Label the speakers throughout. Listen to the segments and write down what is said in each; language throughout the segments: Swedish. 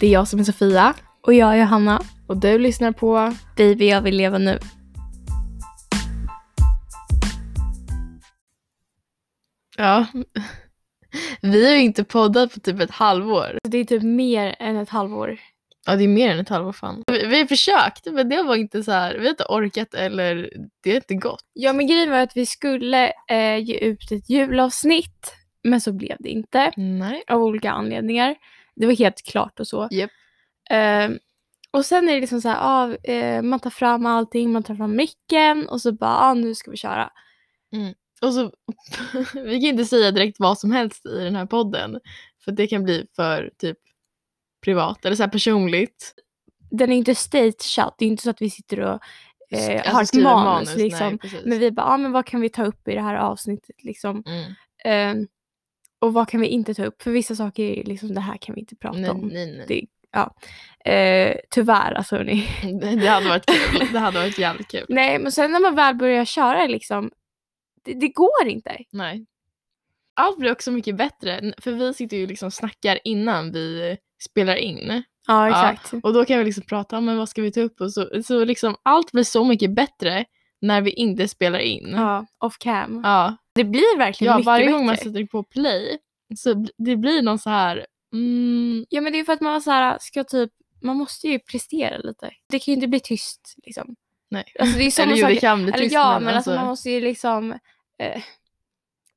Speaker 1: Det är jag som är Sofia
Speaker 2: Och jag är Johanna.
Speaker 1: och du lyssnar på
Speaker 2: Baby, jag vill leva nu.
Speaker 1: Ja. Vi har ju inte poddat på typ ett halvår.
Speaker 2: Det är typ mer än ett halvår.
Speaker 1: Ja, det är mer än ett halvår fan. Vi, vi har försökt, men det var inte så här. Vi har inte orkat eller det har inte gått.
Speaker 2: Ja, men grejen var att vi skulle eh, ge ut ett julavsnitt, men så blev det inte
Speaker 1: Nej.
Speaker 2: av olika anledningar. Det var helt klart och så.
Speaker 1: Japp.
Speaker 2: Eh, och sen är det liksom så här, ah, eh, man tar fram allting, man tar fram micken och så bara, ah, nu ska vi köra.
Speaker 1: Och så, vi kan inte säga direkt vad som helst i den här podden. För det kan bli för typ privat eller så här personligt.
Speaker 2: Den är inte stageat, det är inte så att vi sitter och eh,
Speaker 1: Alltså,
Speaker 2: har ett
Speaker 1: skriva
Speaker 2: manus, liksom.
Speaker 1: Nej, precis.
Speaker 2: Men vi bara, ah, men vad kan vi ta upp i det här avsnittet liksom?
Speaker 1: mm.
Speaker 2: Ehm, och vad kan vi inte ta upp? För vissa saker är ju liksom, det här kan vi inte prata
Speaker 1: nej,
Speaker 2: om.
Speaker 1: nej, nej.
Speaker 2: Eh, tyvärr alltså hörni.
Speaker 1: Det, det hade varit kul. Det hade varit jävligt kul.
Speaker 2: Nej, men sen när man väl börjar köra liksom, det, det går inte.
Speaker 1: Nej. Allt blir också mycket bättre, n- för vi sitter ju liksom och snackar innan vi spelar in.
Speaker 2: Ja,
Speaker 1: Ja.
Speaker 2: exakt.
Speaker 1: Och då kan vi liksom prata om vad ska vi ta upp och så. Så liksom allt blir så mycket bättre när vi inte spelar in.
Speaker 2: Ja, off cam.
Speaker 1: ja.
Speaker 2: Det blir verkligen
Speaker 1: Ja,
Speaker 2: mycket
Speaker 1: varje gång man
Speaker 2: bättre.
Speaker 1: sätter på play så bl- det blir någon så här mm,
Speaker 2: Ja, men det är för att man så här, ska typ, man måste ju prestera lite. Det kan ju inte bli tyst liksom.
Speaker 1: nej.
Speaker 2: Alltså det är
Speaker 1: Eller
Speaker 2: sådana
Speaker 1: jo, det
Speaker 2: saker.
Speaker 1: kan bli
Speaker 2: Eller
Speaker 1: tyst
Speaker 2: ja,
Speaker 1: men
Speaker 2: men alltså,
Speaker 1: alltså-
Speaker 2: man måste ju liksom eh,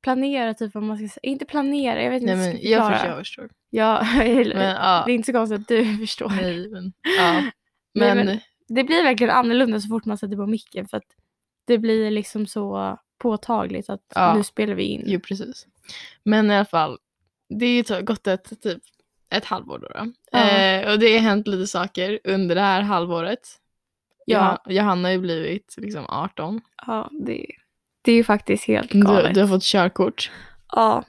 Speaker 2: planera typ vad man ska säga. Inte planera, jag vet inte hur
Speaker 1: Nej
Speaker 2: jag
Speaker 1: men
Speaker 2: ska
Speaker 1: jag
Speaker 2: förklara.
Speaker 1: förstår, jag
Speaker 2: Ja,
Speaker 1: förstår.
Speaker 2: eller-
Speaker 1: Men ja,
Speaker 2: det är inte så konstigt att du förstår.
Speaker 1: nej men ja.
Speaker 2: Nej,
Speaker 1: Men,
Speaker 2: men- Det blir verkligen annorlunda så fort man sätter på micken för att det blir liksom så påtagligt att
Speaker 1: Ja.
Speaker 2: nu spelar vi in.
Speaker 1: jo precis. Men i alla fall, det är ju t- gått ett typ ett halvår då. då.
Speaker 2: Ja.
Speaker 1: Eh, och det har hänt lite saker under det här halvåret.
Speaker 2: Ja,
Speaker 1: Johan- Johanna har ju blivit liksom 18.
Speaker 2: ja det, det är ju faktiskt helt
Speaker 1: Du,
Speaker 2: galet.
Speaker 1: du har fått körkort.
Speaker 2: Ja,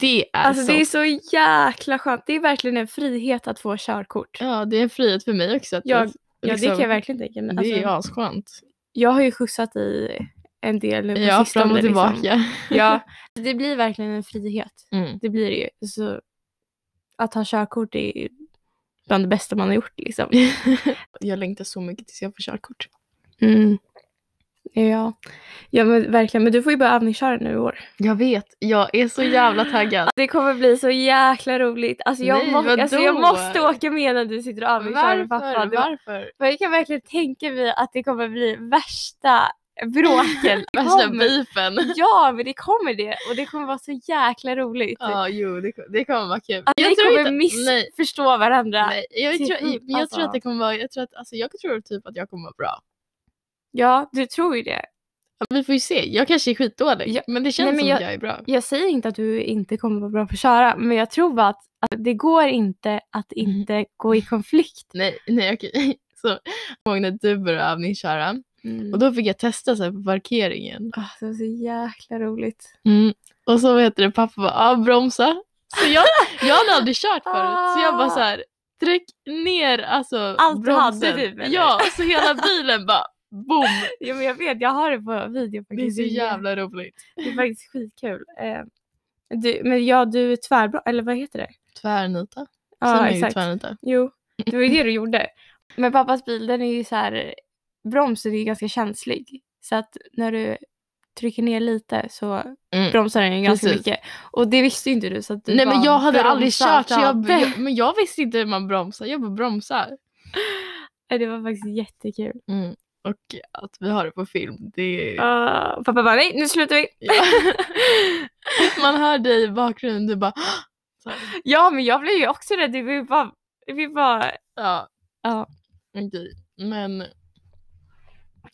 Speaker 1: Det är
Speaker 2: alltså
Speaker 1: så
Speaker 2: det är så jäkla skönt. Det är verkligen en frihet att få körkort.
Speaker 1: Ja, det är en frihet för mig också. Att
Speaker 2: Ja,
Speaker 1: liksom,
Speaker 2: Ja, det kan jag verkligen tänka mig. Alltså,
Speaker 1: Det är asskönt.
Speaker 2: Jag har ju skjutsat i en del nu på
Speaker 1: Ja,
Speaker 2: sistone.
Speaker 1: fram och tillbaka.
Speaker 2: Liksom. Ja, det blir verkligen en frihet.
Speaker 1: Mm.
Speaker 2: Det blir det ju. Så att ha körkort är ju bland det bästa man har gjort liksom.
Speaker 1: jag längtar så mycket tills jag får körkort.
Speaker 2: Mm. Ja. ja, men verkligen. Men du får ju börja övningsköra nu i år.
Speaker 1: Jag vet, jag är så jävla taggad.
Speaker 2: Det kommer bli så jäkla roligt. Alltså jag,
Speaker 1: Nej,
Speaker 2: må- alltså, jag
Speaker 1: vadå?
Speaker 2: måste åka med när du sitter och övningskör med pappa. Det-
Speaker 1: Varför?
Speaker 2: Men jag kan verkligen tänka mig att det kommer bli värsta bråken. Det
Speaker 1: Värsta
Speaker 2: kommer-
Speaker 1: beefen.
Speaker 2: Ja, men det kommer det. Och det kommer vara så jäkla roligt.
Speaker 1: Ja, jo, det, det Alltså, kommer typ, vara kul.
Speaker 2: Att vi
Speaker 1: tror
Speaker 2: kommer
Speaker 1: inte- nej,
Speaker 2: missförstå varandra.
Speaker 1: nej, jag,
Speaker 2: till
Speaker 1: tror,
Speaker 2: punkt,
Speaker 1: jag tror
Speaker 2: alltså.
Speaker 1: att det kommer vara, jag tror att, alltså jag tror typ att jag kommer vara bra.
Speaker 2: Ja, du tror ju det.
Speaker 1: Vi får ju se, jag kanske är skitdålig,
Speaker 2: Ja,
Speaker 1: men det känns
Speaker 2: nej, men
Speaker 1: som
Speaker 2: jag-
Speaker 1: att jag är bra.
Speaker 2: Jag säger inte att du inte kommer vara bra på att köra, men jag tror bara att, att det går inte att
Speaker 1: Mm.
Speaker 2: inte gå i konflikt.
Speaker 1: Nej, nej okej. Så, jag kommer ihåg när du började övningsköra
Speaker 2: Mm.
Speaker 1: och då fick jag testa så här på parkeringen.
Speaker 2: Ah, det var så jäkla roligt.
Speaker 1: Mm. Och så vad heter det, pappa bara ah, bromsa. Så jag, jag hade aldrig kört förut så jag bara så här tryck ner alltså
Speaker 2: Allt du hade,
Speaker 1: bromsen.
Speaker 2: typ, eller?
Speaker 1: Ja, så hela bilen bara boom.
Speaker 2: Ja, men jag vet, jag har det på video
Speaker 1: Det är
Speaker 2: faktiskt.
Speaker 1: så jävla roligt.
Speaker 2: Det är faktiskt skitkul. Eh, du, men ja, du är tvärbra, eller vad heter det?
Speaker 1: Tvärnita.
Speaker 2: Ja,
Speaker 1: Sen är det ju
Speaker 2: exakt.
Speaker 1: Tvärnita.
Speaker 2: Jo, det var ju det du gjorde. Men pappas bil, den är ju så här, bromsen är ju ganska känslig. Så att när du trycker ner lite så
Speaker 1: Mm.
Speaker 2: bromsar den ju ganska
Speaker 1: Precis.
Speaker 2: mycket. Och det visste ju inte du så att du
Speaker 1: Nej men
Speaker 2: bara
Speaker 1: jag hade aldrig
Speaker 2: bromsade
Speaker 1: kört så jag,
Speaker 2: framför.
Speaker 1: jag, men jag visste inte hur man bromsar. Jag bara bromsar.
Speaker 2: Ja, Det var faktiskt jättekul.
Speaker 1: Mm. Och att vi har det på film, det är...
Speaker 2: Ah, pappa bara nej, nu slutar vi.
Speaker 1: Ja. Man hör dig i bakgrunden, du bara... Så här.
Speaker 2: Ja, men jag blev ju också rädd. Vi var bara... Vi bara
Speaker 1: Ja.
Speaker 2: Ja.
Speaker 1: Okej. Men...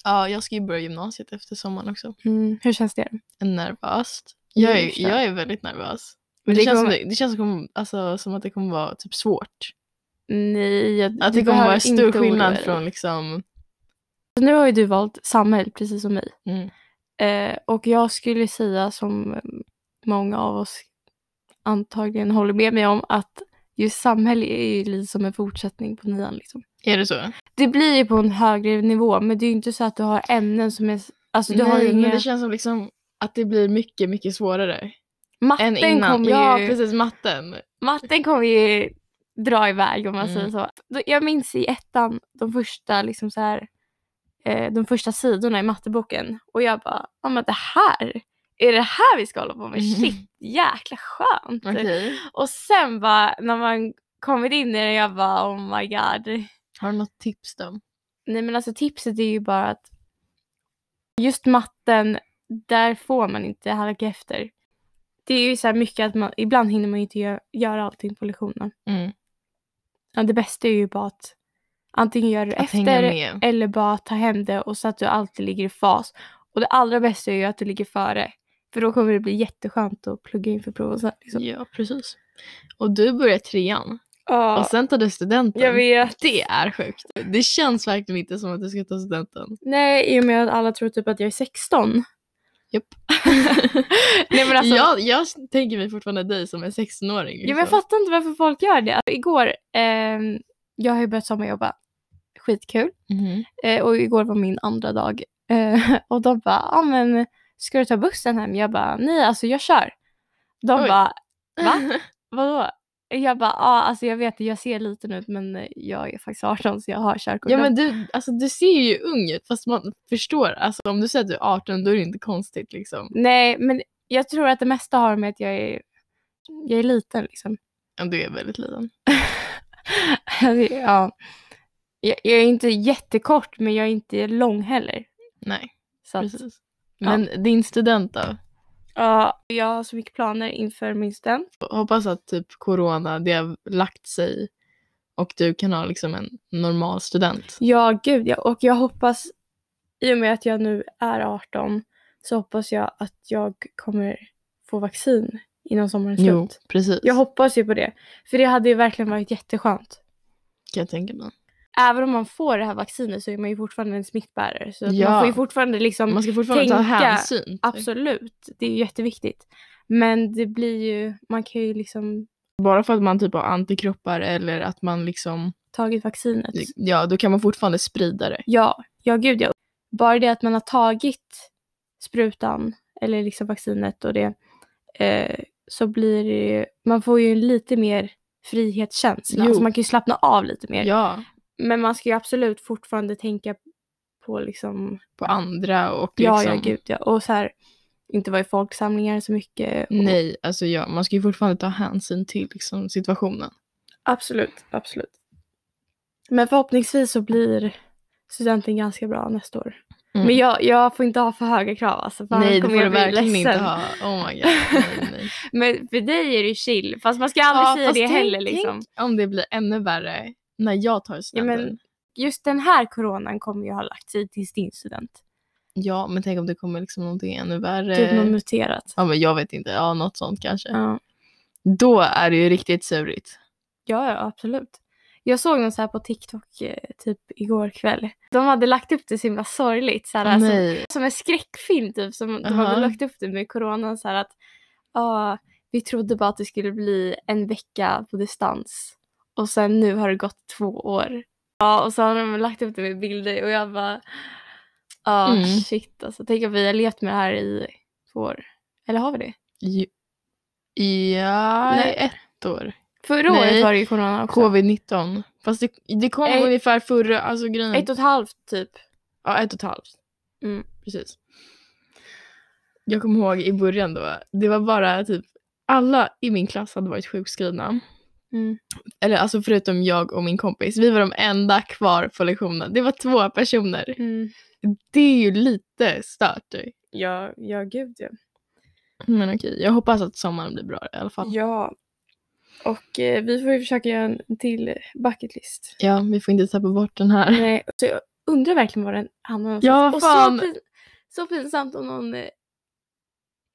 Speaker 1: Ja, jag ska ju börja gymnasiet efter sommaren också.
Speaker 2: mm, hur känns det?
Speaker 1: Nervöst. Jag är,
Speaker 2: Just det.
Speaker 1: jag är väldigt nervös.
Speaker 2: Mm, Men
Speaker 1: Men
Speaker 2: det
Speaker 1: det, känns, som,
Speaker 2: kommer-
Speaker 1: det- det känns som, alltså, som att det kommer vara typ svårt.
Speaker 2: Nej, jag,
Speaker 1: Att
Speaker 2: du
Speaker 1: det kommer
Speaker 2: behöver
Speaker 1: vara stor
Speaker 2: inte oroa
Speaker 1: skillnad
Speaker 2: dig.
Speaker 1: från liksom...
Speaker 2: Så Nu har ju du valt samhället precis som mig.
Speaker 1: Mm.
Speaker 2: Eh, och jag skulle säga som eh, många av oss antagligen håller med mig om att just samhälle är ju lite som en fortsättning på nian. Liksom.
Speaker 1: Är det så?
Speaker 2: Det blir ju på en högre nivå men det är ju inte så att du har ämnen som är... Alltså du har ju
Speaker 1: men
Speaker 2: inga...
Speaker 1: det känns som liksom att det blir mycket, mycket svårare.
Speaker 2: Matten
Speaker 1: Än innan.
Speaker 2: kommer
Speaker 1: Ja,
Speaker 2: ju...
Speaker 1: precis. Matten. Typ.
Speaker 2: Matten kommer ju dra iväg om man
Speaker 1: Mm.
Speaker 2: säger så. Då- Jag minns i ettan de första, liksom så här, eh, de första sidorna i matteboken och jag bara, ja men det här, är det här vi ska hålla på med?
Speaker 1: Mhm.
Speaker 2: Shit, jäkla skönt!
Speaker 1: Okej.
Speaker 2: Och sen bara när man kommit in i det, jag bara oh my god.
Speaker 1: Har du något tips då?
Speaker 2: Nej men alltså tipset är ju bara att just matten, där får man inte halka efter. Det är ju så här mycket att man, ibland hinner man ju inte gö- göra allting på lektionen.
Speaker 1: Mm.
Speaker 2: Ja, det bästa är ju bara att antingen göra det
Speaker 1: Att hänga
Speaker 2: efter
Speaker 1: med.
Speaker 2: eller bara ta hem det och så att du alltid ligger i fas. Och det allra bästa är ju att du ligger före. För då kommer det bli jätteskönt att plugga inför prov och så. här, Liksom.
Speaker 1: Ja, precis. Och du börjar trean
Speaker 2: Ja,
Speaker 1: och sen tar du studenten.
Speaker 2: jag vet.
Speaker 1: Det är sjukt. Det känns verkligen inte som att du ska ta studenten.
Speaker 2: Nej, i och med att alla tror typ att jag är 16.
Speaker 1: Japp.
Speaker 2: Nej men alltså, ja,
Speaker 1: jag, jag tänker mig fortfarande dig som en 16-åring.
Speaker 2: men jag
Speaker 1: liksom.
Speaker 2: fattar inte varför folk gör det. Alltså, igår, ehm, jag har ju börjat sommarjobba. Skitkul.
Speaker 1: Mhm.
Speaker 2: Eh, och igår var min andra dag. Eh, och de bara, ja men ska du ta bussen hem? Jag bara, nej alltså jag kör. De
Speaker 1: Oj.
Speaker 2: bara, Va? vadå? Jag bara, ja alltså jag vet jag ser liten ut men jag är faktiskt 18 så jag har körkort.
Speaker 1: Ja men du, alltså, du ser ju ung ut fast man förstår. Alltså, om du säger att du är 18 då är det inte konstigt liksom.
Speaker 2: Nej men jag tror att det mesta har med att jag är, jag är liten liksom.
Speaker 1: Om Du är väldigt liten.
Speaker 2: Alltså, ja. jag, jag är inte jättekort men jag är inte lång heller.
Speaker 1: Nej,
Speaker 2: Så att,
Speaker 1: precis.
Speaker 2: ja.
Speaker 1: Men din student då?
Speaker 2: ja, jag har så mycket planer inför min student.
Speaker 1: Hoppas att typ corona, det har lagt sig och du kan ha liksom en normal student.
Speaker 2: Ja, gud ja. Och jag hoppas, i och med att jag nu är 18, så hoppas jag att jag kommer få vaccin innan sommaren är
Speaker 1: Jo,
Speaker 2: slut.
Speaker 1: precis.
Speaker 2: Jag hoppas ju på det. För det hade ju verkligen varit jätteskönt.
Speaker 1: kan jag tänka mig.
Speaker 2: Även om man får det här vaccinet så är man ju fortfarande en smittbärare. Så att man
Speaker 1: Ja.
Speaker 2: får ju fortfarande liksom
Speaker 1: Man ska fortfarande ta
Speaker 2: tänka-
Speaker 1: hänsyn. typ.
Speaker 2: Absolut, det är ju jätteviktigt. Men det blir ju, man kan ju liksom
Speaker 1: Bara för att man typ har antikroppar eller att man liksom,
Speaker 2: tagit vaccinet.
Speaker 1: ja då kan man fortfarande sprida det.
Speaker 2: Ja, ja gud ja. Bara det att man har tagit sprutan eller liksom vaccinet och det eh, så blir det ju, man får ju lite mer frihetskänsla.
Speaker 1: Jo.
Speaker 2: Alltså man kan ju slappna av lite mer.
Speaker 1: Ja,
Speaker 2: Men man ska ju absolut fortfarande tänka på liksom,
Speaker 1: på andra och
Speaker 2: ja
Speaker 1: liksom.
Speaker 2: ja gud ja. Och så här, inte vara i folksamlingar så mycket. Och,
Speaker 1: Nej, alltså ja, man ska ju fortfarande ta hänsyn till liksom, situationen.
Speaker 2: Absolut, absolut. Men förhoppningsvis så blir studenten ganska bra nästa år.
Speaker 1: Mm.
Speaker 2: Men jag, jag får inte ha för höga krav alltså. För
Speaker 1: nej,
Speaker 2: annars
Speaker 1: det
Speaker 2: kommer
Speaker 1: får du
Speaker 2: jag bli
Speaker 1: verkligen
Speaker 2: ledsen.
Speaker 1: inte ha. Oh my god. Nej, nej.
Speaker 2: Men för dig är det ju chill. Fast man ska aldrig säga
Speaker 1: fast
Speaker 2: det
Speaker 1: tänk-
Speaker 2: heller liksom.
Speaker 1: Tänk om det blir ännu värre när jag tar
Speaker 2: Ja,
Speaker 1: studenten.
Speaker 2: men- Just den här coronan kommer ju ha lagt sig till din student.
Speaker 1: Ja, men tänk om det kommer liksom någonting ännu värre.
Speaker 2: Typ något muterat.
Speaker 1: Ja, men jag vet inte. Eh. Ja, något sånt kanske.
Speaker 2: Ja.
Speaker 1: Då är det ju riktigt surigt.
Speaker 2: Ja, ja, absolut. Jag såg någon så här på TikTok eh, typ igår kväll. De hade lagt upp det så himla sorgligt. Så här, alltså,
Speaker 1: Nej.
Speaker 2: som en skräckfilm typ som de
Speaker 1: Aha.
Speaker 2: hade lagt upp det med coronan så här att ja, vi trodde bara att det skulle bli en vecka på distans och sen nu har det gått två år. Ja, och så har de lagt upp det med bilder och jag bara ja,
Speaker 1: Mm.
Speaker 2: shit alltså. Tänk om vi har levt med det här i två år. Eller har vi det?
Speaker 1: Ju- Ja,
Speaker 2: Nej.
Speaker 1: nej. ett år.
Speaker 2: Förra
Speaker 1: Nej.
Speaker 2: året var det ju corona också.
Speaker 1: Covid-19. Fast det, det kom
Speaker 2: Ett-
Speaker 1: ungefär förra, alltså grejen.
Speaker 2: Ett och ett halvt typ.
Speaker 1: ja, ett och ett halvt.
Speaker 2: Mm.
Speaker 1: Precis. Jag kommer ihåg i början då, det var bara typ alla i min klass hade varit sjukskrivna.
Speaker 2: Mm.
Speaker 1: Eller alltså förutom jag och min kompis. Vi var de enda kvar på lektionen. Det var två personer.
Speaker 2: Mm.
Speaker 1: Det är ju lite stört.
Speaker 2: Ja, ja gud ja.
Speaker 1: Men okej, jag hoppas att sommaren blir bra i alla fall.
Speaker 2: Ja. Och eh, vi får ju försöka göra en till bucketlist.
Speaker 1: Ja, vi får inte tappa bort den här.
Speaker 2: Nej, så jag undrar verkligen var den hamnar
Speaker 1: Ja,
Speaker 2: någonstans.
Speaker 1: vad
Speaker 2: Och
Speaker 1: fan.
Speaker 2: så, pin, så pinsamt om någon eh,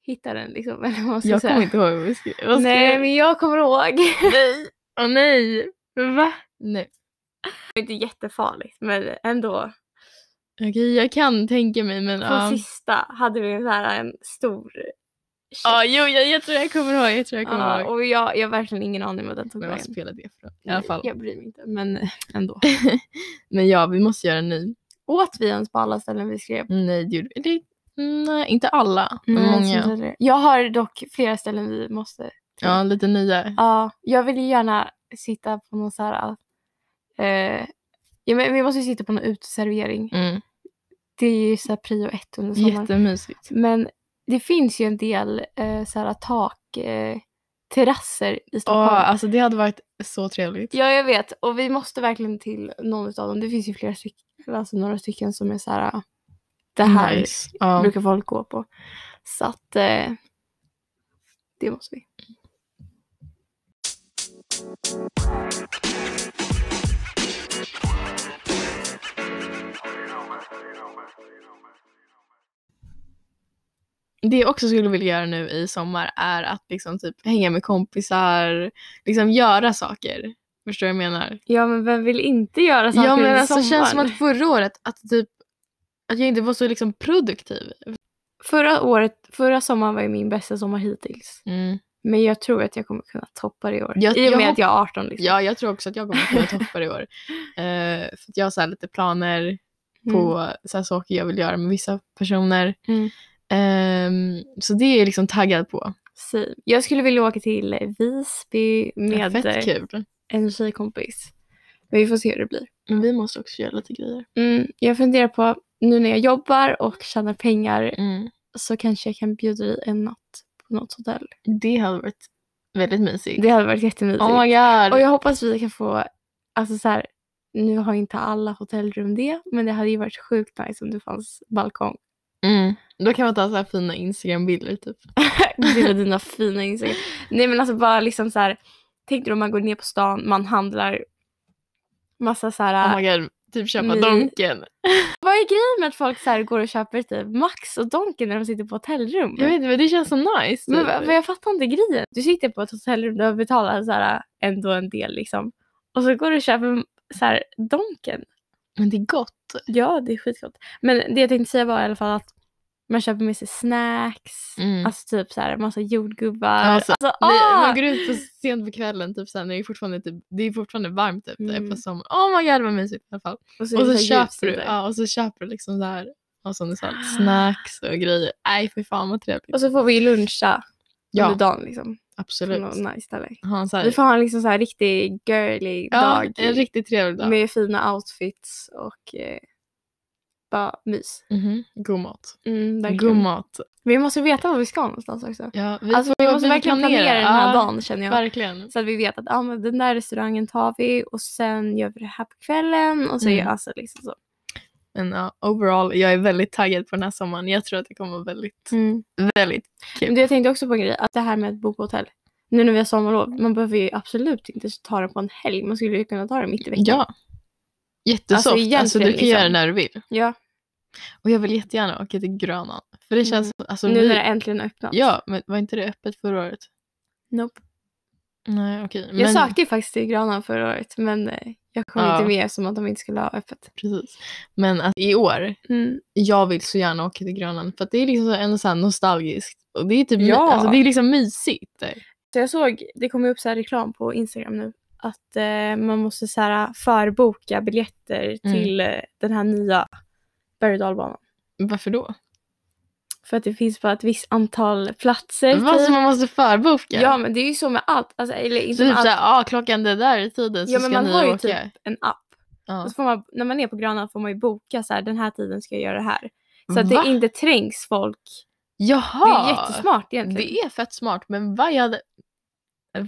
Speaker 2: hittar den liksom. Eller vad man ska
Speaker 1: Jag
Speaker 2: säga.
Speaker 1: kommer inte ihåg vad vi skrev. Vad skrev
Speaker 2: Nej, men jag kommer ihåg.
Speaker 1: Nej. Åh nej. Va? Nej.
Speaker 2: Det är inte jättefarligt, men ändå.
Speaker 1: Okej, jag kan tänka mig men...
Speaker 2: På
Speaker 1: ja.
Speaker 2: sista hade vi en, så här, en stor
Speaker 1: Ja, jo, jag, jag tror jag kommer ihåg. Jag tror jag kommer
Speaker 2: Ja,
Speaker 1: ihåg.
Speaker 2: och jag, jag har verkligen ingen aning om vad den tog
Speaker 1: Men vad
Speaker 2: vägen.
Speaker 1: spelar det för roll? I alla fall.
Speaker 2: Jag bryr mig inte, men eh, ändå.
Speaker 1: Men ja, vi måste göra en ny.
Speaker 2: Åt vi ens på alla ställen vi skrev?
Speaker 1: Nej, det gjorde vi. Det- Nej, inte alla. Men
Speaker 2: Nej, jag tror
Speaker 1: många.
Speaker 2: inte det. Jag har dock flera ställen vi måste.
Speaker 1: Ja, lite nya.
Speaker 2: Ja, jag vill ju gärna sitta på någon så här... Eh, ja, men vi måste ju sitta på någon uteservering.
Speaker 1: Mm.
Speaker 2: Det är ju så här prio ett under sommaren.
Speaker 1: Jättemysigt.
Speaker 2: Men det finns ju en del eh, så här tak, eh, terrasser i Stockholm.
Speaker 1: Ja, alltså det hade varit så trevligt.
Speaker 2: Ja, jag vet. Och vi måste verkligen till någon av dem. Det finns ju flera stycken, alltså några stycken som är så här... ah, Det här
Speaker 1: Nice. Ja.
Speaker 2: brukar folk gå på. Så att eh, det måste vi.
Speaker 1: Det jag också skulle vilja göra nu i sommar är att liksom typ hänga med kompisar, liksom göra saker. Förstår du vad jag menar?
Speaker 2: Ja, men vem vill inte göra saker
Speaker 1: ja men
Speaker 2: under
Speaker 1: alltså det känns som
Speaker 2: sommaren?
Speaker 1: att förra året att typ att jag inte var så liksom produktiv.
Speaker 2: Förra, året, förra sommaren var ju min bästa sommar hittills. Men jag tror att jag kommer kunna toppa det i år.
Speaker 1: Jag-
Speaker 2: I och
Speaker 1: jag
Speaker 2: med
Speaker 1: hop-
Speaker 2: att jag är 18 liksom.
Speaker 1: Ja, jag tror också att jag kommer kunna toppa det i år. Eh, för att jag har så här lite planer på så här saker jag vill göra med vissa personer.
Speaker 2: Mm.
Speaker 1: Ehm, så det är jag liksom taggad på.
Speaker 2: Same. Jag skulle vilja åka till Visby med
Speaker 1: Fett
Speaker 2: eh,
Speaker 1: kul.
Speaker 2: en tjejkompis. Men vi får se hur det blir.
Speaker 1: Men vi måste också göra lite grejer.
Speaker 2: Mm, jag funderar på, nu när jag jobbar och tjänar pengar så kanske jag kan bjuda dig en natt på något hotell.
Speaker 1: Det hade varit väldigt mysigt.
Speaker 2: Det hade varit jättemysigt.
Speaker 1: Oh my god.
Speaker 2: och jag hoppas vi kan få, alltså så här, nu har inte alla hotellrum det, men det hade ju varit sjukt nice om det fanns balkong.
Speaker 1: Mm. Då kan man ta så här fina Instagram-bilder typ.
Speaker 2: Gud vad dina fina Instagram. Nej men alltså bara liksom så här, tänk dig om man går ner på stan, man handlar massa så här,
Speaker 1: Oh my god. Typ köpa
Speaker 2: My-
Speaker 1: Donken.
Speaker 2: vad är grejen med att folk så här går och köper typ Max och Donken när de sitter på hotellrum?
Speaker 1: Jag vet inte men det känns så nice.
Speaker 2: Men,
Speaker 1: typ.
Speaker 2: va- men jag fattar inte grejen. Du sitter på ett hotellrum och betalar så här, ändå en del liksom. Och så går du och köper så här, Donken.
Speaker 1: Men det är gott.
Speaker 2: Ja, det är skitgott. Men det jag tänkte säga var i alla fall att man köper med sig snacks.
Speaker 1: Mm.
Speaker 2: Alltså typ så här massa jordgubbar.
Speaker 1: Alltså,
Speaker 2: alltså,
Speaker 1: Nej,
Speaker 2: ah!
Speaker 1: Man går ut på sent på kvällen, typ, såhär, när det, är fortfarande, typ, det är fortfarande varmt typ,
Speaker 2: Mm.
Speaker 1: mm. på sommaren. Oh my god vad mysigt i alla fall.
Speaker 2: och
Speaker 1: Och
Speaker 2: är
Speaker 1: så,
Speaker 2: det här ljus
Speaker 1: köper du,
Speaker 2: ute.
Speaker 1: ja, och så köper du liksom så här, och som du sa, snacks och grejer. Nej fy fan vad trevligt.
Speaker 2: Och så får vi luncha
Speaker 1: Ja,
Speaker 2: under dagen liksom. På
Speaker 1: absolut.
Speaker 2: något nice ställe.
Speaker 1: Ha en så här,
Speaker 2: Vi får ha en liksom så här riktig girly
Speaker 1: ja,
Speaker 2: dag.
Speaker 1: en riktigt trevlig dag.
Speaker 2: Med fina outfits och eh, bara mys.
Speaker 1: Mhm, God mat.
Speaker 2: Mm, verkligen.
Speaker 1: God mat.
Speaker 2: Vi måste veta var vi ska någonstans också.
Speaker 1: Ja, vi,
Speaker 2: alltså, vi
Speaker 1: får-
Speaker 2: måste verkligen planera, den här dagen känner
Speaker 1: Ja,
Speaker 2: jag.
Speaker 1: verkligen.
Speaker 2: Så att vi vet att ah, men den där restaurangen tar vi och sen gör vi det här på kvällen. Och så
Speaker 1: Mm.
Speaker 2: gör alltså liksom så.
Speaker 1: Men ja, overall, jag är väldigt taggad på den här sommaren. Jag tror att det kommer vara väldigt, väldigt kul.
Speaker 2: Men du, jag tänkte också på en grej, att det här med att bo på hotell. Nu när vi har sommarlov, man behöver ju absolut inte ta den på en helg. Man skulle ju kunna ta den mitt i veckan.
Speaker 1: Ja. Jättesoft. Alltså,
Speaker 2: egentligen,
Speaker 1: du kan göra det
Speaker 2: liksom.
Speaker 1: när du vill.
Speaker 2: Ja,
Speaker 1: Och jag vill jättegärna åka till Grönan. För det känns... Alltså,
Speaker 2: Mm. nu
Speaker 1: vi,
Speaker 2: när det äntligen har öppnat.
Speaker 1: Ja, men var inte det öppet förra året?
Speaker 2: Nope.
Speaker 1: Nej, okej.
Speaker 2: Jag
Speaker 1: men-
Speaker 2: sökte ju faktiskt till Granan förra året men eh, jag kom
Speaker 1: Ja.
Speaker 2: inte med som att de inte skulle ha öppet.
Speaker 1: Precis. Men att i år, jag vill så gärna åka till Grönan. För att det är liksom så- ändå så här nostalgiskt. Och det är typ my-
Speaker 2: Ja.
Speaker 1: alltså, det är liksom mysigt. där.
Speaker 2: Så jag såg, det kommer upp så här reklam på Instagram nu, att eh, man måste så här förboka biljetter
Speaker 1: Mm.
Speaker 2: till eh, den här nya berg och dalbanan.
Speaker 1: Varför då?
Speaker 2: För att det finns bara ett visst antal platser.
Speaker 1: Vad
Speaker 2: typ.
Speaker 1: som man måste förboka?
Speaker 2: Ja men det är ju så med allt, alltså, eller
Speaker 1: typ
Speaker 2: inte med allt,
Speaker 1: såhär, ah, klockan det där i tiden så
Speaker 2: Ja, men
Speaker 1: ska
Speaker 2: man
Speaker 1: ni
Speaker 2: har ju
Speaker 1: åka.
Speaker 2: typ- en app.
Speaker 1: Ja.
Speaker 2: Och så får man, när man är på Grönan får man ju boka så här, den här tiden ska jag göra det här. Så att
Speaker 1: Va?
Speaker 2: det inte trängs folk.
Speaker 1: Jaha!
Speaker 2: Det är jättesmart egentligen.
Speaker 1: Det är fett smart, men vad jag hade...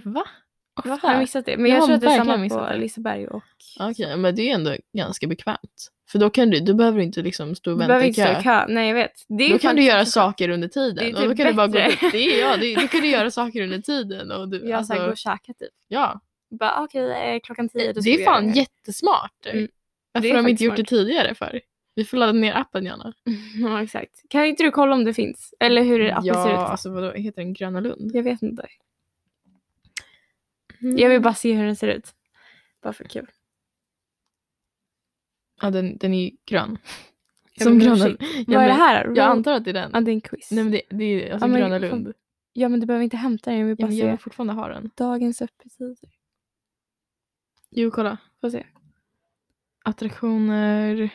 Speaker 1: Va?
Speaker 2: Varför har jag missat det? Men
Speaker 1: Jag
Speaker 2: jag,
Speaker 1: har
Speaker 2: tror att det är
Speaker 1: verkligen
Speaker 2: samma
Speaker 1: missat
Speaker 2: på
Speaker 1: det.
Speaker 2: Liseberg och...
Speaker 1: Okej, men det är ju ändå ganska bekvämt. För då kan du, du behöver inte liksom stå
Speaker 2: Du
Speaker 1: och
Speaker 2: behöver
Speaker 1: vänta i
Speaker 2: inte stå
Speaker 1: kö.
Speaker 2: i kö. Nej jag vet. Det är
Speaker 1: Då
Speaker 2: ju
Speaker 1: kan du
Speaker 2: faktiskt
Speaker 1: göra
Speaker 2: också-
Speaker 1: saker under
Speaker 2: Det är
Speaker 1: tiden.
Speaker 2: typ
Speaker 1: och då kan du bara gå
Speaker 2: bättre.
Speaker 1: dit. Det är, ja, det, då kan du göra saker under tiden. Och du,
Speaker 2: Ja,
Speaker 1: alltså,
Speaker 2: så här, gå och käka typ.
Speaker 1: ja.
Speaker 2: Bara okej, eh, klockan tio då
Speaker 1: Det
Speaker 2: ska vi
Speaker 1: är
Speaker 2: göra
Speaker 1: fan
Speaker 2: här.
Speaker 1: jättesmart.
Speaker 2: Mm.
Speaker 1: Varför
Speaker 2: Det är
Speaker 1: har de
Speaker 2: faktiskt
Speaker 1: inte gjort
Speaker 2: smart.
Speaker 1: det tidigare för? Vi får ladda ner appen gärna.
Speaker 2: Ja exakt. Kan inte du kolla om det finns? Eller hur appen
Speaker 1: ja,
Speaker 2: ser ut?
Speaker 1: alltså vadå, heter den Gröna Lund?
Speaker 2: Jag vet inte. Jag vill bara se hur den ser ut. Bara för kul.
Speaker 1: Ja, den, den är ju grön.
Speaker 2: Jag
Speaker 1: Som
Speaker 2: ber om
Speaker 1: Gröna
Speaker 2: ursäkt.
Speaker 1: Ja,
Speaker 2: Vad är det
Speaker 1: men
Speaker 2: här?
Speaker 1: Jag
Speaker 2: Road-
Speaker 1: antar att det är den.
Speaker 2: Ja det är en quiz.
Speaker 1: Nej men det, det är alltså
Speaker 2: Ja, men
Speaker 1: Gröna
Speaker 2: fan,
Speaker 1: Lund.
Speaker 2: Ja men du behöver inte hämta den, jag vill
Speaker 1: Ja,
Speaker 2: bara
Speaker 1: men jag
Speaker 2: se
Speaker 1: vill fortfarande ha den.
Speaker 2: dagens öppettider.
Speaker 1: Jo, kolla.
Speaker 2: Får se.
Speaker 1: Attraktioner.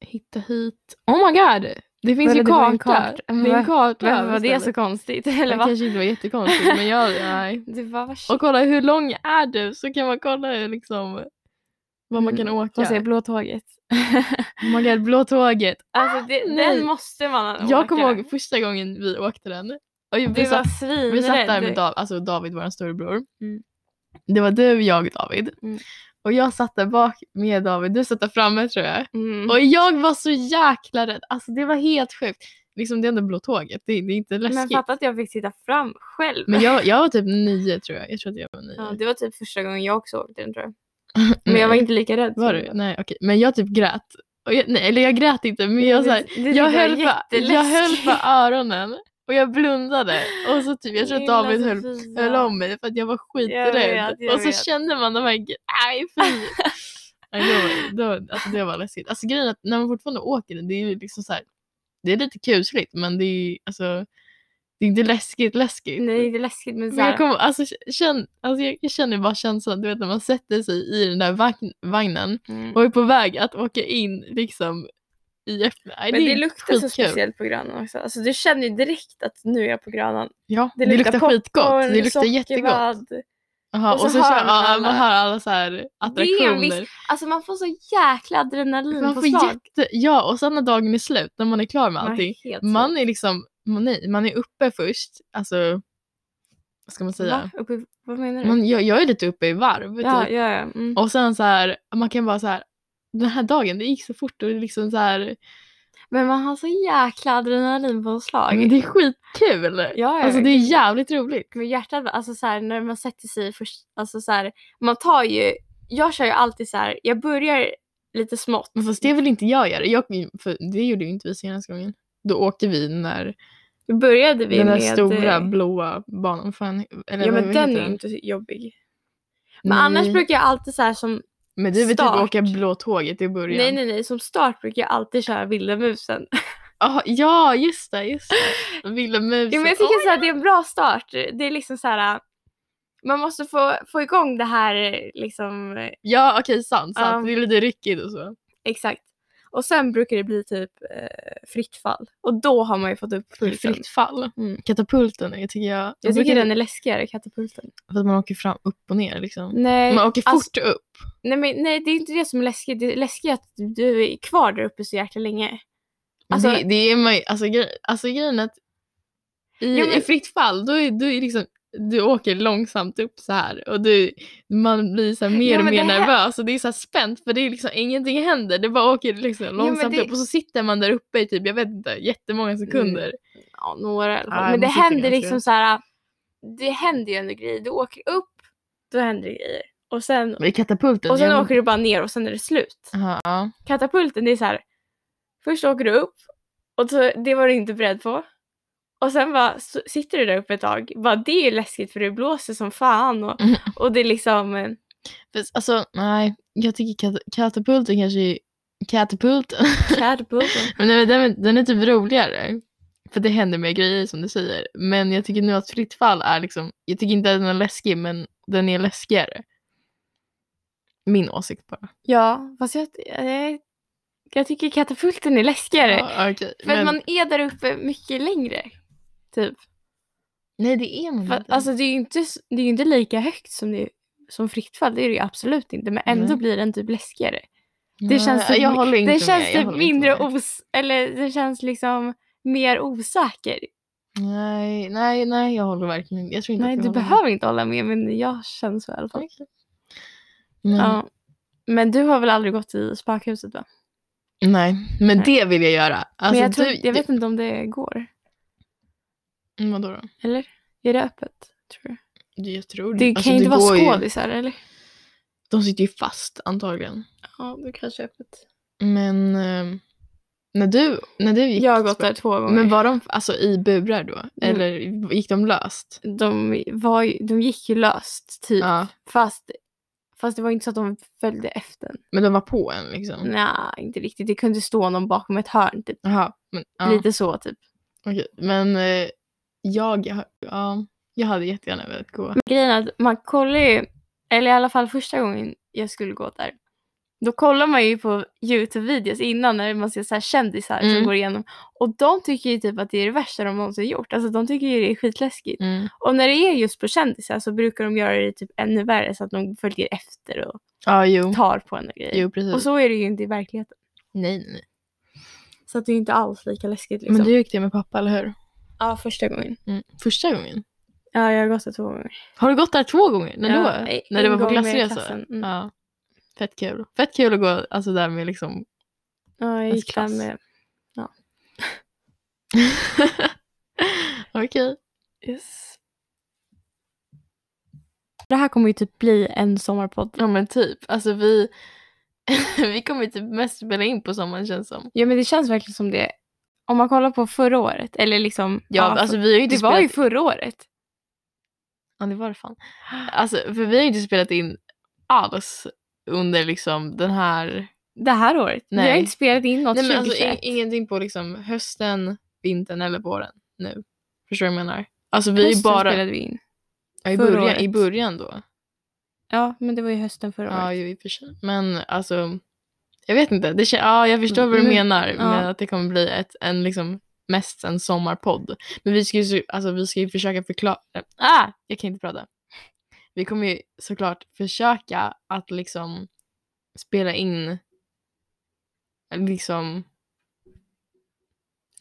Speaker 1: Hitta hit. Oh my god! Det finns
Speaker 2: Vadå,
Speaker 1: ju
Speaker 2: det var en
Speaker 1: karta.
Speaker 2: karta. Men
Speaker 1: Det är en
Speaker 2: var-
Speaker 1: karta.
Speaker 2: Varför var det
Speaker 1: istället.
Speaker 2: så konstigt?
Speaker 1: Det
Speaker 2: Eller vad?
Speaker 1: kanske inte var jättekonstigt men jag, nej.
Speaker 2: Det var vad
Speaker 1: Och kolla hur lång är du så kan man kolla hur liksom vad man kan
Speaker 2: Mm.
Speaker 1: åka.
Speaker 2: Hon säger blå tåget.
Speaker 1: Oh my god, blå tåget.
Speaker 2: alltså det,
Speaker 1: nej.
Speaker 2: den måste man åka.
Speaker 1: Jag kommer ihåg första gången vi åkte den. Och vi,
Speaker 2: Du var
Speaker 1: satt,
Speaker 2: svinrädd.
Speaker 1: vi satt där med
Speaker 2: Du-
Speaker 1: Dav, alltså David, vår storebror.
Speaker 2: Mm.
Speaker 1: Det var du, jag och David.
Speaker 2: Mm.
Speaker 1: Och jag satt där bak med David, du satt där framme tror jag.
Speaker 2: Mm.
Speaker 1: Och jag var så jäkla rädd. Alltså det var helt sjukt. Liksom det är ändå blå tåget, det, det är inte läskigt.
Speaker 2: Men fatta att jag fick sitta fram själv.
Speaker 1: Men jag, jag var typ nio tror jag. Jag tror att jag var nio.
Speaker 2: Ja, det var typ första gången jag också åkte den tror jag. Men jag var
Speaker 1: Nej.
Speaker 2: inte lika rädd.
Speaker 1: Var
Speaker 2: som
Speaker 1: du? Nej okej. Men jag typ grät. Och jag, nej, eller jag grät inte men jag, så här,
Speaker 2: Det- det tyckte
Speaker 1: jag,
Speaker 2: var
Speaker 1: höll för, jag höll
Speaker 2: jätteläskigt.
Speaker 1: för öronen och jag blundade. Och så typ, jag tror att
Speaker 2: Lilla
Speaker 1: David höll,
Speaker 2: Sofia.
Speaker 1: höll om mig för att jag var skiträdd.
Speaker 2: jag
Speaker 1: och så
Speaker 2: vet.
Speaker 1: kände man de här, gre- nej fy. nej, då, då, alltså, det var läskigt. Alltså grejen är att när man fortfarande åker den, det är ju liksom så här, det är lite kusligt men det är ju alltså, det är inte läskigt läskigt.
Speaker 2: Nej, det är läskigt men
Speaker 1: Men jag,
Speaker 2: såhär.
Speaker 1: kommer, alltså, känn, alltså, jag, jag känner bara känslan, du vet när man sätter sig i den där vagn, vagnen
Speaker 2: Mm.
Speaker 1: och är på väg att åka in liksom i öppna. Nej,
Speaker 2: Men det
Speaker 1: är
Speaker 2: luktar så
Speaker 1: skitkul.
Speaker 2: speciellt på Grönan också. Alltså, du känner ju direkt att nu är jag på Grönan.
Speaker 1: Ja, det, luktar, skitgott. Det luktar jättegott.
Speaker 2: sockervadd.
Speaker 1: Aha, och, så hör man, ja,
Speaker 2: alla-
Speaker 1: man hör alla så här attraktioner.
Speaker 2: viss Alltså man får så jäkla adrenalin
Speaker 1: Man
Speaker 2: på
Speaker 1: får jätte, ja, och sen när dagen är slut, när man är klar med allting. Man är liksom, man är, man är uppe först. Alltså, vad ska man säga?
Speaker 2: Uppe, vad menar du?
Speaker 1: Man, jag, jag är lite uppe i varv.
Speaker 2: ja,
Speaker 1: typ.
Speaker 2: ja, ja. Mm.
Speaker 1: Och sen så här, man kan bara så här, den här dagen, det gick så fort och det är liksom så här,
Speaker 2: Men man har så jäkla adrenalinpåslag.
Speaker 1: men det är skitkul.
Speaker 2: ja, ja,
Speaker 1: Alltså det
Speaker 2: verkligen.
Speaker 1: är jävligt roligt.
Speaker 2: Men hjärtat, alltså så här, när man sätter sig först, alltså så här, man tar ju, jag kör ju alltid så här, jag börjar lite smått.
Speaker 1: Men fast det vill inte jag göra. Jag, för det gjorde ju inte vi senaste gången. Då åkte vi när
Speaker 2: Då började vi
Speaker 1: den där
Speaker 2: med... eh,
Speaker 1: stora blåa banan. Fan, eller
Speaker 2: Ja
Speaker 1: vad-
Speaker 2: men
Speaker 1: vad
Speaker 2: den
Speaker 1: heter
Speaker 2: är ju inte så jobbig. Men
Speaker 1: Nej.
Speaker 2: annars brukar jag alltid så här som,
Speaker 1: Men du vill typ
Speaker 2: start.
Speaker 1: åka blå tåget i början.
Speaker 2: nej nej nej, som start brukar jag alltid köra vilda musen.
Speaker 1: Ah, ja, just det. Just det. Vilda musen.
Speaker 2: Jo, men jag tycker så här, det är en bra start. Det är liksom så här, äh, man måste få, få igång det här eh, liksom, eh,
Speaker 1: Ja, okej, sant. sant.
Speaker 2: Ja.
Speaker 1: Det är lite ryckigt och så.
Speaker 2: exakt. Och sen brukar det bli typ eh, fritt fall. Och då har man ju fått upp pulsen.
Speaker 1: Fritt fall.
Speaker 2: Mm.
Speaker 1: Katapulten, jag tycker jag...
Speaker 2: Jag tycker
Speaker 1: brukar-
Speaker 2: den är läskigare, katapulten.
Speaker 1: För att man åker fram, upp och ner liksom.
Speaker 2: Nej,
Speaker 1: Man åker fort
Speaker 2: alltså-
Speaker 1: upp.
Speaker 2: nej, men, nej, det är inte det som är läskigt. Det läskiga är att du är kvar där uppe så jäkla länge.
Speaker 1: Men
Speaker 2: Alltså-
Speaker 1: det, det är man, alltså, grej, alltså grejen är att i,
Speaker 2: Ja, men-
Speaker 1: i fritt fall, då är, då är liksom, du åker långsamt upp så här och du, man blir så här mer
Speaker 2: Ja,
Speaker 1: och
Speaker 2: men
Speaker 1: mer
Speaker 2: det här-
Speaker 1: nervös och det är så här spänt för det är liksom ingenting händer. Det bara åker liksom långsamt
Speaker 2: det- Mm.
Speaker 1: upp och så sitter man där uppe i typ, jag vet inte, jättemånga sekunder.
Speaker 2: Ja, några i alla fall.
Speaker 1: Ja,
Speaker 2: men
Speaker 1: man
Speaker 2: det
Speaker 1: sitter
Speaker 2: händer
Speaker 1: ganska-
Speaker 2: liksom så här, äh, det händer ju ändå grejer. Du åker upp, då händer det grejer. Och sen,
Speaker 1: Men i katapulten,
Speaker 2: och sen
Speaker 1: jag-
Speaker 2: åker du bara ner och sen är det slut.
Speaker 1: Aha, ja.
Speaker 2: katapulten, det är så här. Först åker du upp och så, det var du inte beredd på. Och sen bara, s- sitter du där uppe ett tag. Bara, det är ju läskigt för det blåser som fan och,
Speaker 1: Mhm.
Speaker 2: och det är liksom... eh,
Speaker 1: Fast, alltså nej, jag tycker kat- katapulten kanske är, katapulten,
Speaker 2: Catapulten.
Speaker 1: men nej, men den, den är typ roligare. För det händer mer grejer som du säger. Men jag tycker nu att fritt fall är liksom, jag tycker inte att den är läskig men den är läskigare. Min åsikt bara.
Speaker 2: Ja, fast jag, eh, jag tycker katapulten är läskigare.
Speaker 1: Ja, okej.
Speaker 2: för
Speaker 1: men,
Speaker 2: att man är där uppe mycket längre. Typ.
Speaker 1: Nej det är man
Speaker 2: För, att,
Speaker 1: inte.
Speaker 2: alltså det är ju inte, s- det är ju inte lika högt som, det, som fritt fall, det är det ju absolut inte. Men ändå
Speaker 1: Nej.
Speaker 2: blir den typ läskigare.
Speaker 1: Nej,
Speaker 2: Det känns, typ,
Speaker 1: jag håller inte
Speaker 2: det känns
Speaker 1: med. jag
Speaker 2: typ
Speaker 1: håller inte
Speaker 2: mindre
Speaker 1: med.
Speaker 2: os... Eller det känns liksom mer osäker.
Speaker 1: Nej, nej, nej jag håller verkligen inte. Jag tror inte
Speaker 2: Nej,
Speaker 1: att jag
Speaker 2: du
Speaker 1: håller med.
Speaker 2: behöver inte hålla med men jag känner så i alla fall.
Speaker 1: Okej. Men,
Speaker 2: Ja. Men du har väl aldrig gått i spökhuset va?
Speaker 1: Nej, men
Speaker 2: Nej.
Speaker 1: det vill jag göra. Alltså,
Speaker 2: men jag, tror,
Speaker 1: du,
Speaker 2: jag vet inte om det går.
Speaker 1: Mm, Vadå då?
Speaker 2: Eller? Är det öppet? Tror du?
Speaker 1: Det- Jag tror
Speaker 2: Det
Speaker 1: Alltså,
Speaker 2: kan ju inte vara
Speaker 1: går ju-
Speaker 2: skådisar eller?
Speaker 1: De sitter ju fast antagligen.
Speaker 2: Ja, det kanske är öppet.
Speaker 1: Men eh, när, du, när du gick
Speaker 2: Jag har
Speaker 1: till
Speaker 2: gått där två gånger. Mm.
Speaker 1: Men var de alltså, i burar då? Eller gick de löst?
Speaker 2: de, var ju, de gick ju löst typ.
Speaker 1: Ja.
Speaker 2: Fast, fast det var inte så att de följde efter.
Speaker 1: Men de var på en liksom?
Speaker 2: Nej, inte riktigt. Det kunde stå någon bakom ett hörn typ.
Speaker 1: Jaha. Men, ja,
Speaker 2: Lite så typ.
Speaker 1: okej. men eh, jag, ja, jag hade jättegärna velat gå.
Speaker 2: Grejen är att man kollar ju, eller i alla fall första gången jag skulle gå där, Då kollar man ju på Youtube-videos innan när man ser så här kändisar
Speaker 1: Mm.
Speaker 2: som går igenom. Och de tycker ju typ att det är det värsta de någonsin gjort. Alltså de tycker ju det är skitläskigt.
Speaker 1: Mm.
Speaker 2: Och när det är just på kändisar så brukar de göra det typ ännu värre så att de följer efter och
Speaker 1: Ja, jo.
Speaker 2: tar på en och grejer.
Speaker 1: Mm. Jo, precis.
Speaker 2: Och så är det ju inte i verkligheten.
Speaker 1: Nej, nej, nej.
Speaker 2: Så att det är inte alls lika läskigt liksom.
Speaker 1: Men du gick det med pappa, eller hur?
Speaker 2: Ja, första gången.
Speaker 1: Mm. Första gången?
Speaker 2: Ja, jag har gått det två gånger.
Speaker 1: Har du gått där två gånger? När
Speaker 2: Ja,
Speaker 1: då?
Speaker 2: en
Speaker 1: När det var på
Speaker 2: gång med
Speaker 1: klassresa?
Speaker 2: klassen, mm.
Speaker 1: Ja. Fett kul. Fett kul att gå alltså, där med liksom...
Speaker 2: Ja, jag
Speaker 1: Ens
Speaker 2: gick där
Speaker 1: Alltså, klass.
Speaker 2: med...
Speaker 1: Okej.
Speaker 2: Yes. Det här kommer ju typ bli en sommarpodd.
Speaker 1: Ja men typ. Alltså vi... vi kommer typ mest spela in på sommaren känns som.
Speaker 2: Ja men det känns verkligen som det. Om man kollar på förra året eller liksom.
Speaker 1: Ja, alltså vi har ju
Speaker 2: för-
Speaker 1: inte
Speaker 2: det
Speaker 1: spelat...
Speaker 2: var ju förra året.
Speaker 1: Ja det var det fan. Alltså för vi har ju inte spelat in alls under liksom den här...
Speaker 2: Det här året. Nej. Vi har
Speaker 1: Nej.
Speaker 2: inte spelat in något
Speaker 1: Nej men alltså
Speaker 2: 2021.
Speaker 1: in- ingenting på liksom hösten, vintern eller våren nu. Förstår du vad jag menar? Alltså vi är ju
Speaker 2: Hösten
Speaker 1: bara...
Speaker 2: spelade vi in.
Speaker 1: Ja, i,
Speaker 2: förra
Speaker 1: början, I
Speaker 2: året.
Speaker 1: början då.
Speaker 2: Ja men det var ju hösten förra
Speaker 1: Ja
Speaker 2: året.
Speaker 1: ju i och för sig. Men alltså... Jag vet inte. Det kän- ja, jag förstår vad du
Speaker 2: Men-
Speaker 1: menar
Speaker 2: Mm. ja.
Speaker 1: med att det kommer bli ett, en liksom mest en sommarpodd. Men vi ska ju, så- alltså, vi ska ju försöka förklara... Ah! Jag kan inte prata. Vi kommer ju såklart försöka att liksom spela in liksom...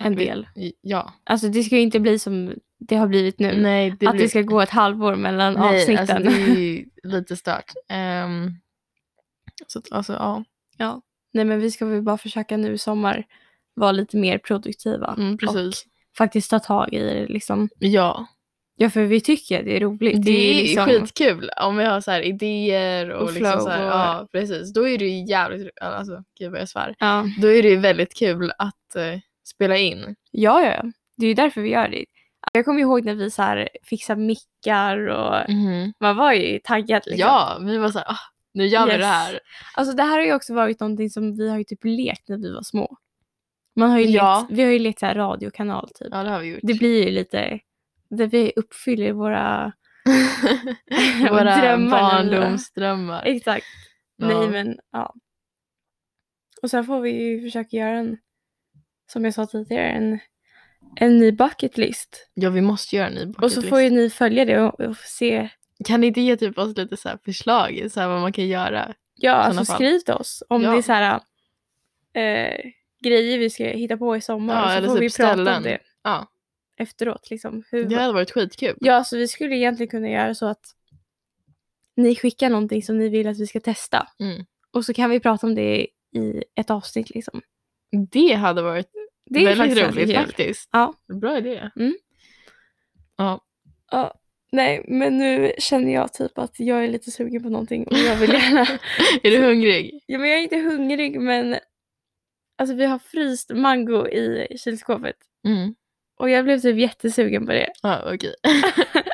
Speaker 2: En del.
Speaker 1: Ja.
Speaker 2: Alltså det ska ju inte bli som det har blivit nu.
Speaker 1: Nej,
Speaker 2: Mm. att det ska gå ett halvår mellan
Speaker 1: Nej,
Speaker 2: avsnitten.
Speaker 1: alltså, det är ju lite stört. Ehm, så att, alltså, ja.
Speaker 2: Nej men vi ska väl bara försöka nu i sommar vara lite mer produktiva.
Speaker 1: Mm, precis.
Speaker 2: Och faktiskt ta tag i det liksom.
Speaker 1: Ja.
Speaker 2: Ja för vi tycker att det är roligt.
Speaker 1: Det,
Speaker 2: ju
Speaker 1: är
Speaker 2: liksom...
Speaker 1: skitkul om vi har så här idéer och,
Speaker 2: Och
Speaker 1: liksom
Speaker 2: flow
Speaker 1: så här,
Speaker 2: och-
Speaker 1: ja precis. Då är det ju jävligt, ro- alltså gud vad jag svär.
Speaker 2: Ja.
Speaker 1: Då är det ju väldigt kul att eh, spela in.
Speaker 2: Ja, ja, ja. Det är ju därför vi gör det. Jag kommer ihåg när vi så här fixade mickar och man var ju taggad. Liksom.
Speaker 1: Mhm. Ja, vi var så här, ah, nu gör vi
Speaker 2: Yes.
Speaker 1: det här.
Speaker 2: Alltså det här har ju också varit någonting som vi har ju typ lekt när vi var små. Man har ju
Speaker 1: Ja.
Speaker 2: lekt, vi har ju lekt så här radiokanal typ.
Speaker 1: Ja, det har vi gjort.
Speaker 2: Det blir ju lite, där vi uppfyller våra,
Speaker 1: Våra
Speaker 2: drömmar. eller-
Speaker 1: barndomsdrömmar.
Speaker 2: Exakt.
Speaker 1: Ja.
Speaker 2: Nej men ja. Och sen får vi ju försöka göra en, som jag sa tidigare, en, en ny bucket list.
Speaker 1: Ja, vi måste göra en ny
Speaker 2: Och så får ju ni följa det och, och se
Speaker 1: Kan ni inte ge typ oss lite så här förslag så här, vad man kan göra?
Speaker 2: Ja,
Speaker 1: sådana
Speaker 2: alltså
Speaker 1: fall.
Speaker 2: skriv till oss om
Speaker 1: Ja.
Speaker 2: det är så här eh, grejer vi ska hitta på i sommar.
Speaker 1: Ja,
Speaker 2: och så
Speaker 1: eller
Speaker 2: får
Speaker 1: typ
Speaker 2: vi prata
Speaker 1: ställen.
Speaker 2: om det
Speaker 1: Ja,
Speaker 2: efteråt. Liksom, hur...
Speaker 1: det
Speaker 2: ja.
Speaker 1: hade varit skitkul.
Speaker 2: så vi skulle egentligen kunna göra så att ni skickar någonting som ni vill att vi ska testa.
Speaker 1: Mm.
Speaker 2: Och så kan vi prata om det i ett avsnitt. Liksom.
Speaker 1: Det hade varit
Speaker 2: Det är
Speaker 1: väldigt
Speaker 2: faktiskt
Speaker 1: roligt
Speaker 2: ganska kul.
Speaker 1: faktiskt.
Speaker 2: Ja.
Speaker 1: Bra idé.
Speaker 2: Mm.
Speaker 1: Ja.
Speaker 2: Nej, men nu känner jag typ att jag är lite sugen på någonting och jag vill gärna...
Speaker 1: Är du hungrig?
Speaker 2: ja, men jag är inte hungrig men alltså, vi har fryst mango i kylskåpet.
Speaker 1: Mm.
Speaker 2: Och jag blev typ jättesugen på det.
Speaker 1: Ja, okej.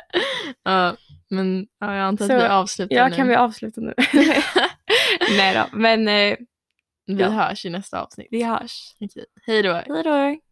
Speaker 1: ja, men ja, jag antar att
Speaker 2: Så,
Speaker 1: vi avslutar
Speaker 2: Ja,
Speaker 1: nu.
Speaker 2: kan vi avsluta nu? Nej då, men eh,
Speaker 1: vi
Speaker 2: Ja.
Speaker 1: hörs i nästa avsnitt.
Speaker 2: vi hörs.
Speaker 1: Okej. Hej då.
Speaker 2: Hej då!